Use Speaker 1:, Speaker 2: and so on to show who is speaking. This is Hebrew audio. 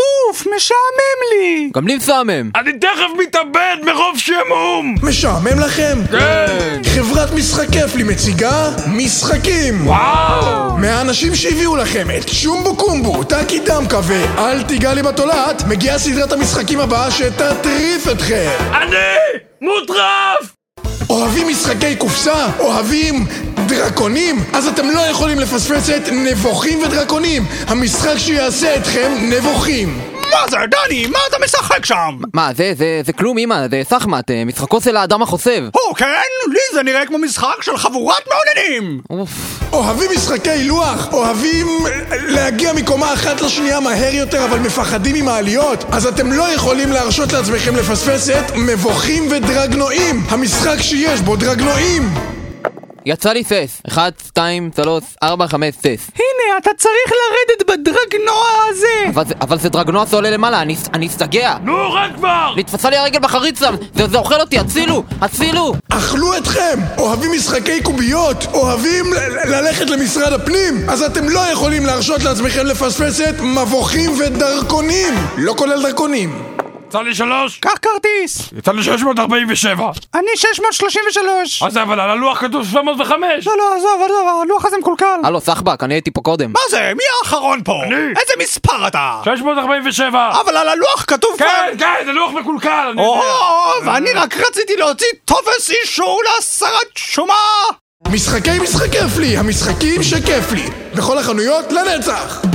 Speaker 1: גוף משעמם לי!
Speaker 2: גם לי מסמם.
Speaker 3: אני תכף מתאבד מרוב שעמום!
Speaker 4: משעמם לכם?
Speaker 3: כן!
Speaker 4: חברת משחק כיף לי מציגה משחקים!
Speaker 3: וואו!
Speaker 4: מהאנשים שהביאו לכם את שומבו קומבו, טאקי דמקה ואל תיגע לי בתולעת, מגיעה סדרת המשחקים הבאה שתטריף אתכם!
Speaker 3: אני מוטרף!
Speaker 4: אוהבים משחקי קופסה? אוהבים דרקונים? אז אתם לא יכולים לפספס את נבוכים ודרקונים, המשחק שיעשה אתכם נבוכים!
Speaker 1: מה זה, דני? מה אתה משחק שם?
Speaker 2: מה, זה, זה, זה כלום, אמא, זה סחמט, אה, משחקו של האדם החוסב.
Speaker 1: או, כן? לי זה נראה כמו משחק של חבורת מעוננים!
Speaker 2: אוף.
Speaker 4: אוהבים משחקי לוח, אוהבים אה, להגיע מקומה אחת לשנייה מהר יותר אבל מפחדים ממעליות אז אתם לא יכולים להרשות לעצמכם לפספס את מבוכים ודרגנועים המשחק שיש בו דרגנועים
Speaker 2: יצא לי סס. אחד, שתיים, שלוש, ארבע, חמש, סס.
Speaker 1: הנה, אתה צריך לרדת בדרגנוע הזה!
Speaker 2: אבל זה, אבל זה דרגנוע שעולה למעלה, אני, אני אסתגע.
Speaker 3: נו, רק כבר!
Speaker 2: נתפסה לי הרגל בחריצה, זה, זה אוכל אותי, הצילו! הצילו!
Speaker 4: אכלו אתכם! אוהבים משחקי קוביות! אוהבים ל- ל- ללכת למשרד הפנים! אז אתם לא יכולים להרשות לעצמכם לפספס את מבוכים ודרקונים! לא כולל דרקונים!
Speaker 3: יצא לי שלוש?
Speaker 1: קח כרטיס!
Speaker 3: יצא לי 647.
Speaker 1: אני 633!
Speaker 3: אז אה, אבל על הלוח כתוב 705.
Speaker 1: לא, לא, עזוב, עזוב, הלוח הזה מקולקל!
Speaker 2: הלו, סחבק, אני הייתי פה קודם.
Speaker 1: מה זה? מי האחרון פה?
Speaker 3: אני.
Speaker 1: איזה מספר אתה?
Speaker 3: 647.
Speaker 1: אבל על הלוח כתוב
Speaker 3: כן,
Speaker 1: כבר...
Speaker 3: כן, זה לוח מקולקל, אני
Speaker 1: או,
Speaker 3: יודע.
Speaker 1: ואני רק רציתי להוציא טופס אישור להסרת שומה!
Speaker 4: משחקי משחק כיף לי! המשחקים שכיף לי! בכל החנויות לנצח!